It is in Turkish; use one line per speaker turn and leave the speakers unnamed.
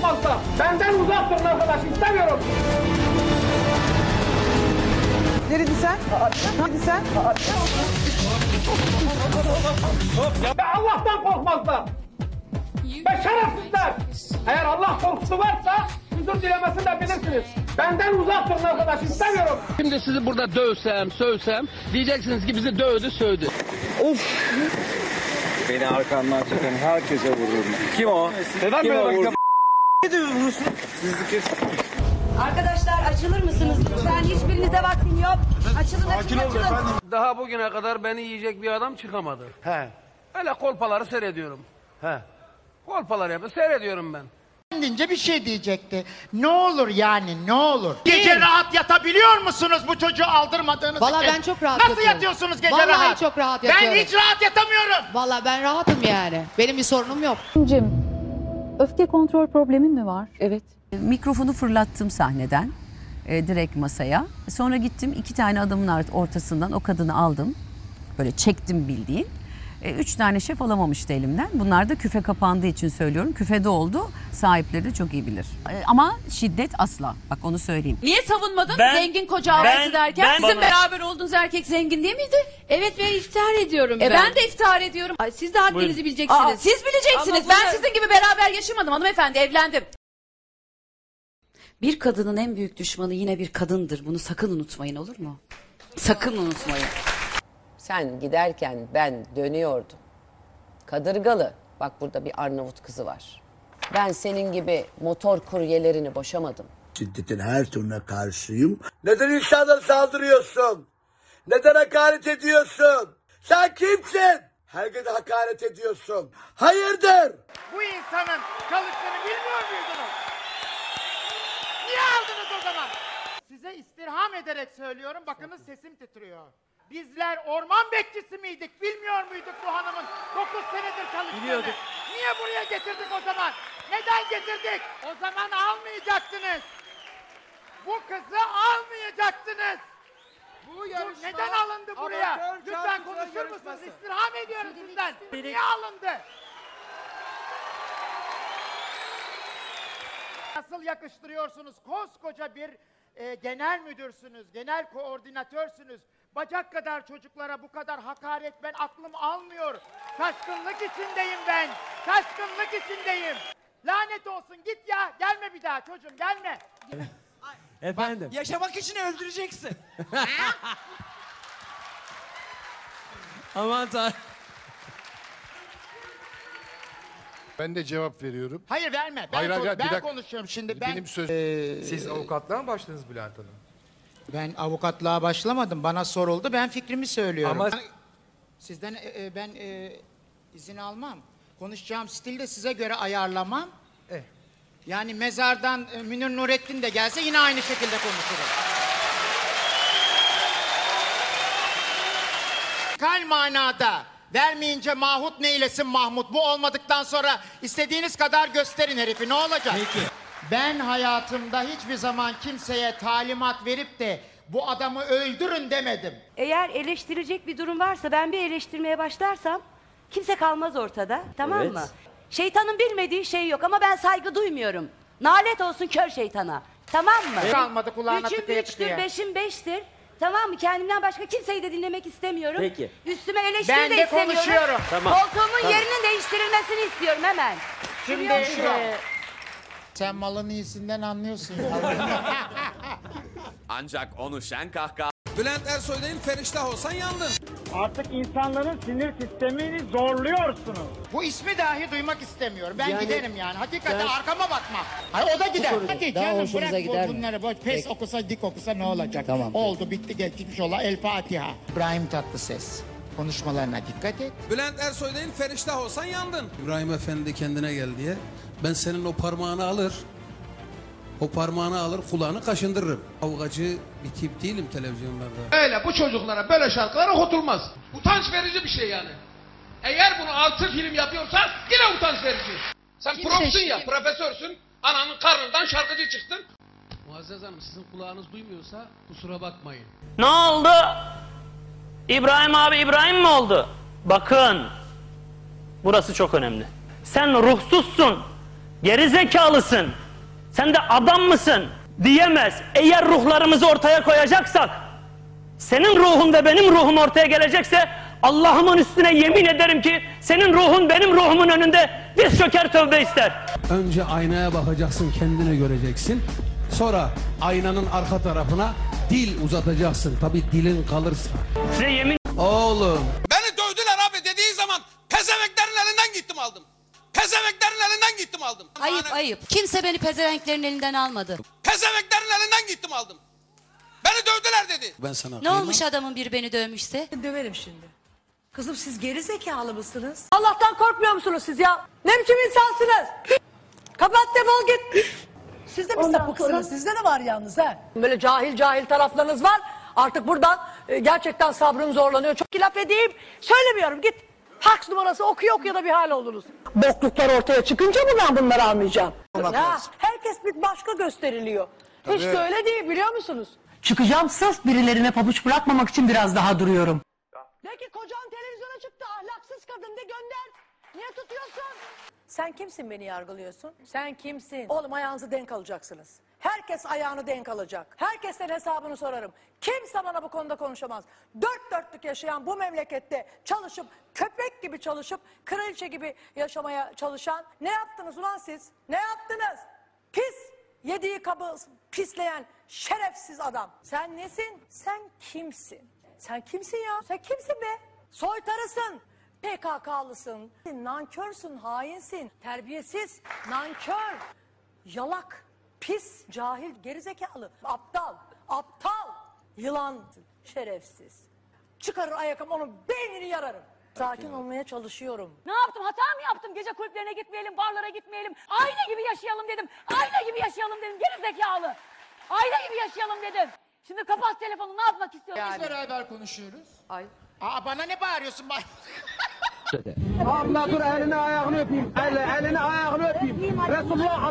fazla. Benden uzak durun arkadaş istemiyorum.
Neredin sen? Neredin sen?
Ve Allah'tan korkmazlar. Ve şerefsizler. Eğer Allah korkusu varsa huzur dilemesini de bilirsiniz. Benden uzak durun arkadaş istemiyorum.
Şimdi sizi burada dövsem, sövsem diyeceksiniz ki bizi dövdü, sövdü.
Beni arkamdan çeken herkese vururum. Kim o? Neden böyle bakıyorsun?
Arkadaşlar açılır mısınız lütfen? Hiçbirinize vaktim yok. Açılın açılın açılın.
Daha bugüne kadar beni yiyecek bir adam çıkamadı. He. Öyle kolpaları seyrediyorum. He. Kolpalar yapıyor, seyrediyorum ben.
kendince bir şey diyecekti. Ne olur yani ne olur. Gece
Değil.
rahat yatabiliyor musunuz bu çocuğu aldırmadığınız
Vallahi
için?
ben çok rahat
Nasıl
yatıyorum.
yatıyorsunuz gece
Vallahi
rahat?
çok rahat
Ben
yatıyorum.
hiç rahat yatamıyorum.
Valla ben rahatım yani. Benim bir sorunum yok.
Cim, öfke kontrol problemin mi var? Evet.
Mikrofonu fırlattım sahneden e, direkt masaya. Sonra gittim iki tane adamın art- ortasından o kadını aldım. Böyle çektim bildiğin. E, üç tane şef alamamıştı elimden. Bunlar da küfe kapandığı için söylüyorum. Küfede oldu. Sahipleri de çok iyi bilir. E, ama şiddet asla. Bak onu söyleyeyim.
Niye savunmadın
Ben-
zengin koca avası
ben-
derken?
ben-
Sizin
bana-
beraber olduğunuz erkek zengin değil miydi? Evet ve iftihar ediyorum ben. E ben de iftihar ediyorum. Ay, siz de haddinizi
Buyurun.
bileceksiniz. siz bileceksiniz. Ben sizin gibi beraber yaşamadım hanımefendi evlendim. Bir kadının en büyük düşmanı yine bir kadındır. Bunu sakın unutmayın olur mu? Sakın unutmayın.
Sen giderken ben dönüyordum. Kadırgalı. Bak burada bir Arnavut kızı var. Ben senin gibi motor kuryelerini boşamadım.
şiddetin her türüne karşıyım. Neden insanlara saldırıyorsun? Neden hakaret ediyorsun? Sen kimsin? Herkese hakaret ediyorsun. Hayırdır?
Bu insanın çalıştığını bilmiyor muydunuz? Niye aldınız o zaman? Size istirham ederek söylüyorum. Bakınız sesim titriyor. Bizler orman bekçisi miydik? Bilmiyor muyduk bu hanımın 9 senedir çalıştığını? Biliyorduk. Niye buraya getirdik o zaman? Neden getirdik? O zaman almayacaktınız. Bu kızı almayacaktınız. Bu neden alındı buraya? Lütfen konuşur musunuz? İstirham ediyorum sizden. Niye alındı? Nasıl yakıştırıyorsunuz? Koskoca bir e, genel müdürsünüz, genel koordinatörsünüz. Bacak kadar çocuklara bu kadar hakaret ben aklım almıyor. Şaşkınlık içindeyim ben. Şaşkınlık içindeyim. Lanet olsun git ya. Gelme bir daha çocuğum gelme.
Efendim.
Yaşamak için öldüreceksin.
Aman tanrım.
Ben de cevap veriyorum.
Hayır verme. Ben,
Hayır, hayır,
konu-
bir
ben
dakika.
konuşuyorum şimdi. Ben, Ee,
söz... Siz avukatlığa mı başladınız Bülent Hanım?
ben avukatlığa başlamadım. Bana soruldu. Ben fikrimi söylüyorum.
Ama-
Sizden e, e, ben e, izin almam. Konuşacağım stil de size göre ayarlamam.
Eh.
Yani mezardan e, Münir Nurettin de gelse yine aynı şekilde konuşurum. Kal manada vermeyince Mahmut neylesin Mahmut? Bu olmadıktan sonra istediğiniz kadar gösterin herifi ne olacak? Ben hayatımda hiçbir zaman kimseye talimat verip de bu adamı öldürün demedim.
Eğer eleştirecek bir durum varsa ben bir eleştirmeye başlarsam kimse kalmaz ortada. Tamam mı? Şeytanın bilmediği şey yok ama ben saygı duymuyorum. Nalet olsun kör şeytana. Tamam mı?
Kalmadı kulağına
Üçüm
tıkaya
üçtür,
tıkaya.
beşim beştir. Tamam mı? Kendimden başka kimseyi de dinlemek istemiyorum.
Peki.
Üstüme eleştiri
Ben de
istemiyorum.
konuşuyorum.
Koltuğumun yerinin değiştirilmesini istiyorum hemen.
Şimdi e, sen malın iyisinden anlıyorsun.
Ancak onu şen kahkaha
Bülent Ersoy değil Feriştah olsan yandın.
Artık insanların sinir sistemini zorluyorsunuz.
Bu ismi dahi duymak istemiyorum. Ben giderim yani. Hakikaten arkama bakma. Hayır o da gider. Hadi
Daha
canım
hoşunuza
bırak
gider
bu,
mi?
bunları boş. Pes okusa dik okusa ne olacak?
Tamam.
Oldu bitti geçmiş ola. El Fatiha. İbrahim Tatlıses. Konuşmalarına dikkat et.
Bülent Ersoy değil Feriştah olsan yandın. İbrahim Efendi kendine gel diye ben senin o parmağını alır. O parmağını alır kulağını kaşındırırım. Avgacı bir tip değilim televizyonlarda.
Öyle bu çocuklara böyle şarkılar okutulmaz. Utanç verici bir şey yani. Eğer bunu altı film yapıyorsan yine utanç verici. Sen profsun ya, profesörsün. Ananın karnından şarkıcı çıktın. Muazzez Hanım sizin kulağınız duymuyorsa kusura bakmayın.
Ne oldu? İbrahim abi İbrahim mi oldu? Bakın. Burası çok önemli. Sen ruhsuzsun. Geri zekalısın.
Sen de adam mısın? Diyemez. Eğer ruhlarımızı ortaya koyacaksak, senin ruhun ve benim ruhum ortaya gelecekse Allah'ımın üstüne yemin ederim ki senin ruhun benim ruhumun önünde diz çöker tövbe ister.
Önce aynaya bakacaksın, kendini göreceksin. Sonra aynanın arka tarafına dil uzatacaksın. Tabii dilin kalırsa.
Size yemin...
Oğlum.
Beni dövdüler abi dediği zaman pezemeklerin elinden gittim aldım. Pezemeklerin elinden gittim aldım.
Ayıp ayıp. Kimse beni pezevenklerin elinden almadı.
Pezemeklerin elinden gittim aldım. Beni dövdüler dedi.
Ben sana
Ne olmuş adamın bir beni dövmüşse? Döverim şimdi.
Kızım siz geri zekalı mısınız? Allah'tan korkmuyor musunuz siz ya? Ne biçim insansınız? Kapat defol git. Siz de bir sapıksınız. Sizde de var yalnız ha. Böyle cahil cahil taraflarınız var. Artık buradan e, gerçekten sabrım zorlanıyor. Çok laf edeyim. Söylemiyorum git. Fax numarası okuya okuya da bir hal oldunuz. Bokluklar ortaya çıkınca mı ben bunları almayacağım? Ya, herkes bir başka gösteriliyor. Hiç
Tabii.
de öyle değil biliyor musunuz? Çıkacağım sırf birilerine pabuç bırakmamak için biraz daha duruyorum.
De ki kocan televizyona çıktı ahlaksız kadın de gönder. Niye tutuyorsun? Sen kimsin beni yargılıyorsun? Sen kimsin? Oğlum ayağınızı denk alacaksınız. Herkes ayağını denk alacak. Herkesten hesabını sorarım. Kimse bana bu konuda konuşamaz. Dört dörtlük yaşayan bu memlekette çalışıp köpek gibi çalışıp kraliçe gibi yaşamaya çalışan ne yaptınız ulan siz? Ne yaptınız? Pis! Yediği kabı pisleyen şerefsiz adam. Sen nesin? Sen kimsin? Sen kimsin ya? Sen kimsin be? Soytarısın. PKK'lısın. Nankörsün, hainsin. Terbiyesiz, nankör, yalak, pis, cahil, gerizekalı, aptal, aptal, yılan, şerefsiz. Çıkarır ayakkabı onun beynini yararım. Sakin olmaya çalışıyorum.
Ne yaptım? Hata mı yaptım? Gece kulüplerine gitmeyelim, barlara gitmeyelim. Aile gibi yaşayalım dedim. Aile gibi yaşayalım dedim. Geri zekalı. Aile gibi yaşayalım dedim. Şimdi kapat telefonu. Ne yapmak istiyorsun?
Biz beraber konuşuyoruz.
Ay.
Aa bana ne bağırıyorsun bak?
Abla dur elini ayağını öpeyim. Ele, elini ayağını öpeyim. Resulullah